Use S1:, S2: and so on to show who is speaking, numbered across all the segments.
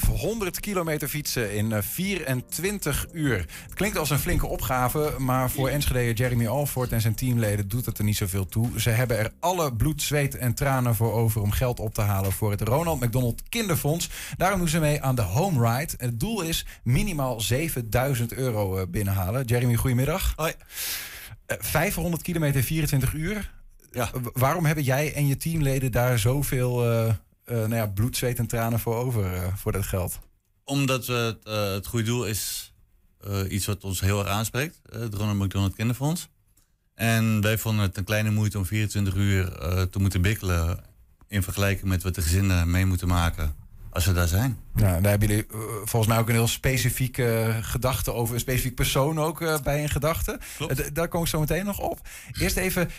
S1: 500 kilometer fietsen in eh, 24 uur. Het klinkt als een flinke opgave, maar voor Enschedeer Jeremy Alford en zijn teamleden doet het er niet zoveel toe. Ze hebben er alle bloed, zweet en tranen voor over om geld op te halen voor het Ronald McDonald Kinderfonds. Daarom doen ze mee aan de Home Ride. Het doel is minimaal 7000 euro eh, binnenhalen. Jeremy, goedemiddag.
S2: Hoi.
S1: Eh, 500 kilometer 24 uur.
S2: Ja.
S1: W- Waarom hebben jij en je teamleden daar zoveel eh eh, nou ja, bloed, zweet en tranen voor over eh, voor dat geld?
S2: Omdat we het, eh, het goede doel is eh, iets wat ons heel erg aanspreekt. eh, het Ronald McDonald Kinderfonds. En wij vonden het een kleine moeite om 24 uur eh, te moeten bikkelen. In vergelijking met wat de gezinnen mee moeten maken als ze daar zijn.
S1: Nou, daar hebben jullie eh, volgens mij ook een heel specifieke eh, gedachte over. Een specifiek persoon ook eh, bij in gedachten.
S2: Klopt.
S1: Eh, d- daar kom ik zo meteen nog op. Eerst even, d-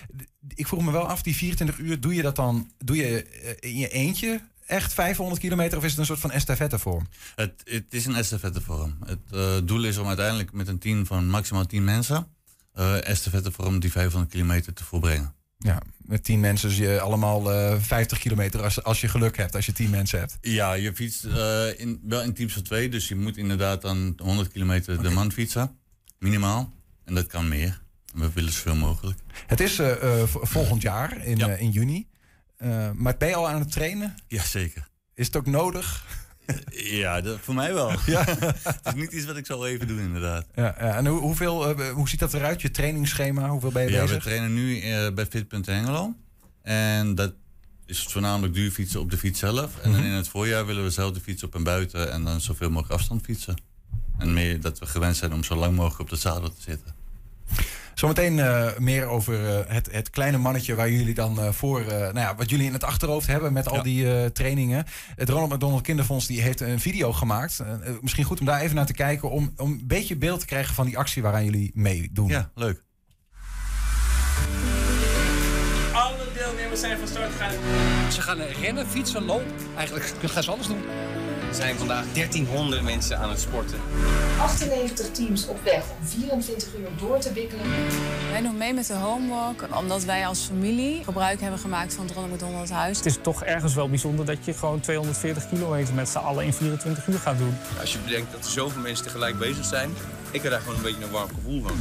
S1: ik vroeg me wel af, die 24 uur, doe je dat dan doe je, eh, in je eentje echt 500 kilometer? Of is het een soort van estafette vorm?
S2: Het, het is een estafettevorm. Het eh, doel is om uiteindelijk met een team van maximaal 10 mensen... eh estafettevorm die 500 kilometer te volbrengen.
S1: Ja, met 10 mensen, dus je allemaal eh, 50 kilometer als, als je geluk hebt, als je 10 mensen hebt.
S2: Ja, je fietst eh, in, wel in teams van twee, dus je moet inderdaad dan 100 kilometer de man fietsen, minimaal. En dat kan meer. We willen zoveel mogelijk.
S1: Het is eh, eh, v- volgend jaar, in,
S2: Ja.
S1: eh, in juni. Eh, maar ben je al aan het trainen?
S2: Jazeker.
S1: Is het ook nodig?
S2: Ja, dat, voor mij wel. Ja. het is niet iets wat ik zal even doen, inderdaad.
S1: Ja, ja. en hoe, hoeveel, eh, hoe ziet dat eruit, je trainingsschema? Hoeveel ben je
S2: Ja, we
S1: bezig?
S2: trainen nu eh, bij Fit. Hengelo. En dat is voornamelijk duurfietsen op de fiets zelf. En dan in het voorjaar willen we zelf de fiets op en buiten en dan zoveel mogelijk afstand fietsen. En meer dat we gewend zijn om zo lang mogelijk op de zadel te zitten.
S1: Zometeen eh, meer over eh, het, het kleine mannetje waar jullie dan eh, voor, eh, nou ja, wat jullie in het achterhoofd hebben met al
S2: Ja.
S1: die eh, trainingen. Het Ronald McDonald Kinderfonds die heeft een video gemaakt. Eh, eh, misschien goed om daar even naar te kijken, om, om een beetje beeld te krijgen van die actie waaraan jullie meedoen.
S2: Ja, leuk.
S3: Alle deelnemers zijn van start gegaan.
S4: Ze gaan rennen, fietsen, lopen. Eigenlijk gaan ze alles doen.
S3: Er zijn vandaag 1300 mensen aan het sporten.
S5: 98 teams op weg om 24 uur door te wikkelen.
S6: Wij doen mee met de homewalk omdat wij als familie gebruik hebben gemaakt van het Ronald McDonald Huis.
S7: Het is toch ergens wel bijzonder dat je gewoon 240 kilometer met z'n allen in 24 uur gaat doen.
S3: Als je bedenkt dat er zoveel mensen tegelijk bezig zijn, ik heb daar gewoon een beetje een warm gevoel van.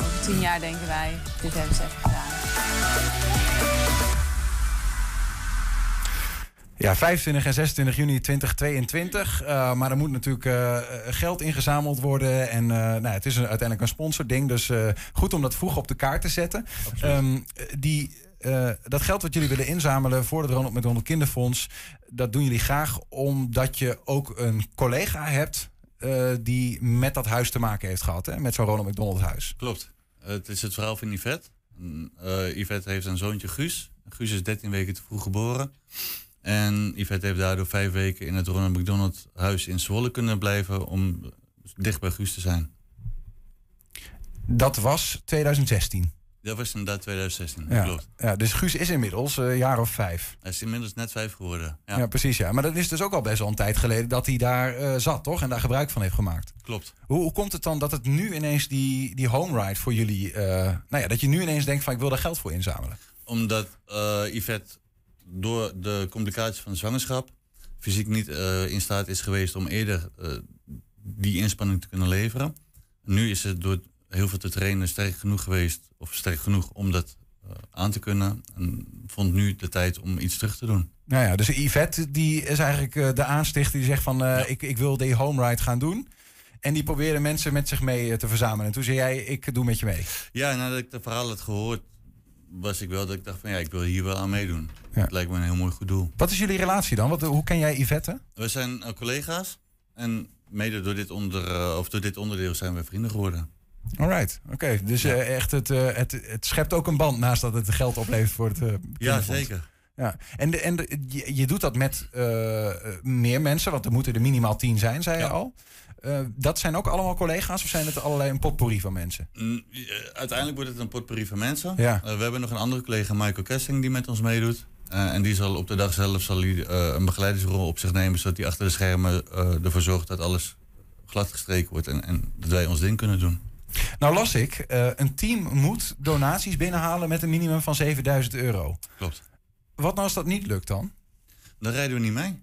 S6: Over tien jaar denken wij, dit hebben ze even gedaan.
S1: Ja, 25 en 26 juni 2022. Eh, maar er moet natuurlijk eh, geld ingezameld worden. En eh, nou, het is een- uiteindelijk een sponsording. Dus eh, goed om dat vroeg op de kaart te zetten. Ehm, die, eh, dat geld wat jullie willen inzamelen voor het Ronald McDonald Kinderfonds... dat doen jullie graag omdat je ook een collega hebt... eh, die met dat huis te maken heeft gehad. Hè? Met zo'n Ronald McDonald huis.
S2: Klopt. Het is het verhaal van Yvette. En, eh, Yvette heeft een zoontje Guus. Guus is 13 weken te vroeg geboren. En Yvette heeft daardoor vijf weken in het Ronald McDonald huis in Zwolle kunnen blijven om dicht bij Guus te zijn.
S1: Dat was 2016.
S2: Dat was inderdaad 2016,
S1: Ja.
S2: klopt.
S1: Ja, dus Guus is inmiddels eh, een jaar of vijf.
S2: Hij is inmiddels net vijf geworden. Ja,
S1: Ja. precies. Ja. Maar dat is dus ook al best wel een tijd geleden dat hij daar eh, zat, toch? En daar gebruik van heeft gemaakt.
S2: klopt.
S1: Hoe, hoe komt het dan dat het nu ineens die, die home ride voor jullie... eh, nou ja, dat je nu ineens denkt van ik wil daar geld voor inzamelen.
S2: Omdat eh, Yvette door de complicaties van de zwangerschap fysiek niet eh, in staat is geweest om eerder eh, die inspanning te kunnen leveren. Nu is ze door heel veel te trainen sterk genoeg geweest, of sterk genoeg om dat eh, aan te kunnen. En vond nu de tijd om iets terug te doen.
S1: Nou ja, dus Yvette die is eigenlijk eh, de aanstichter die zegt van eh, ik, ik wil die home ride gaan doen. En die probeerde mensen met zich mee eh, te verzamelen. En toen zei jij ik doe met je mee.
S2: Ja, nadat ik dat verhaal had gehoord, was ik wel dat ik dacht van ja, ik wil hier wel aan meedoen.
S1: Ja.
S2: Het lijkt me een heel mooi goed doel.
S1: Wat is jullie relatie dan? Wat, hoe ken jij Yvette?
S2: We zijn eh, collega's en mede door dit, onder, eh, of door dit onderdeel zijn we vrienden geworden.
S1: Alright, oké. Dus eh, echt, het, eh, het, het schept ook een band naast dat het geld oplevert voor het eh,
S2: Ja,
S1: kinderfonds.
S2: zeker.
S1: Ja, en, de, en de- je, je doet dat met eh, meer mensen, want er moeten er minimaal tien zijn, zei je
S2: Ja.
S1: al. Eh, dat zijn ook allemaal collega's of zijn het allerlei een potpourri van mensen?
S2: Mm, eh, Uiteindelijk wordt het een potpourri van mensen.
S1: Ja.
S2: Eh, we hebben nog een andere collega, Michael Kessing, die met ons meedoet. Eh, en die zal op de dag zelf zal hij, eh, een begeleidingsrol op zich nemen, zodat hij achter de schermen eh, ervoor zorgt dat alles glad gestreken wordt en, en dat wij ons ding kunnen doen.
S1: Nou las ik, eh, een team moet donaties binnenhalen met een minimum van 7000 euro.
S2: Klopt.
S1: Wat nou als dat niet lukt dan?
S2: Dan rijden we niet mee.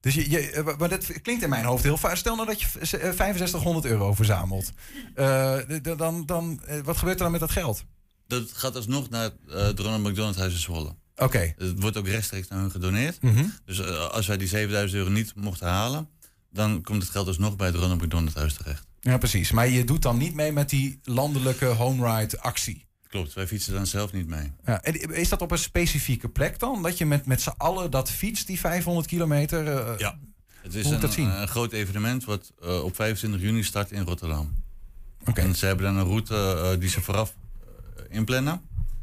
S1: Dus je, je, eh, maar dat klinkt in mijn hoofd heel vaak. Stel nou dat je v- eh, 6500 euro verzamelt. Eh, d- d- dan, dan, eh, wat gebeurt er dan met dat geld?
S2: Dat gaat alsnog naar eh, het Ronald McDonald Huis in Zwolle.
S1: Oké.
S2: Het wordt ook rechtstreeks naar hun gedoneerd.
S1: Mhm.
S2: Dus eh, als wij die 7000 euro niet mochten halen, dan komt het geld alsnog bij het Ronald McDonald Huis terecht.
S1: Ja, precies. Maar je doet dan niet mee met die landelijke home ride actie.
S2: Klopt, wij fietsen dan zelf niet mee.
S1: Ja, en is dat op een specifieke plek dan? Dat je met, met z'n allen dat fietst, die 500 kilometer? eh,
S2: Ja. Het
S1: Hoe
S2: is
S1: moet
S2: een,
S1: dat zien?
S2: een groot evenement wat eh, op 25 juni start in Rotterdam.
S1: Oké.
S2: En ze hebben dan een route eh, die ze vooraf eh, inplannen.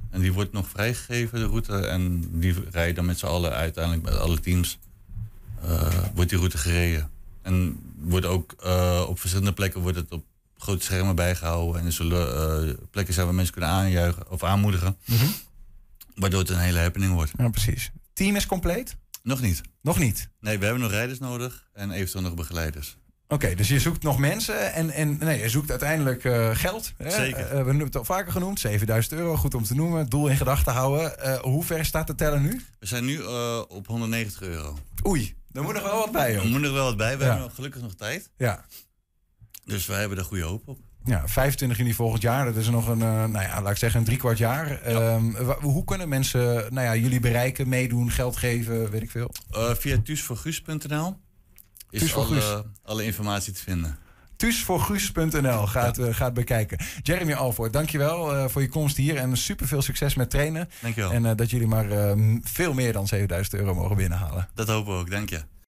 S2: En die wordt nog vrijgegeven, de route. En die rijden dan met z'n allen uiteindelijk, met alle teams, eh, wordt die route gereden. En wordt ook eh, op verschillende plekken wordt het op grote schermen bijgehouden. En er zullen eh, plekken zijn waar mensen kunnen aanjuichen of aanmoedigen.
S1: Mhm.
S2: Waardoor het een hele happening wordt.
S1: Ja, precies. Team is compleet?
S2: Nog niet.
S1: Nog niet.
S2: Nee, we hebben nog rijders nodig en eventueel nog begeleiders.
S1: Oké, dus je zoekt nog mensen en, en nee, je zoekt uiteindelijk eh, geld. Hè?
S2: Zeker.
S1: Eh, we hebben het al vaker genoemd, 7000 euro, goed om te noemen. Doel in gedachten houden. Eh, hoe ver staat de teller nu?
S2: We zijn nu eh, op 190 euro.
S1: Oei, daar moet nog wel wat bij,
S2: Er
S1: joh.
S2: moet nog wel wat bij. We
S1: Ja.
S2: hebben gelukkig nog tijd.
S1: Ja.
S2: Dus wij hebben er goede hoop op.
S1: ja, 25 juni volgend jaar, dat is nog een, eh, nou ja, laat ik zeggen, een driekwart jaar. Ehm, wa- hoe kunnen mensen nou ja, jullie bereiken, meedoen, geld geven, weet ik veel?
S2: Eh, via tuusvoorguus.nl
S1: Thuis
S2: is
S1: voor
S2: alle, alle informatie te vinden.
S1: Tuusvoorguus.nl gaat, eh, gaat bekijken. Jeremy Alvoort, dankjewel eh voor je komst hier en super veel succes met trainen.
S2: Dankjewel.
S1: eh, En eh, dat jullie maar eh, m- veel meer dan 7000 euro mogen binnenhalen.
S2: Dat hopen we ook, dank je.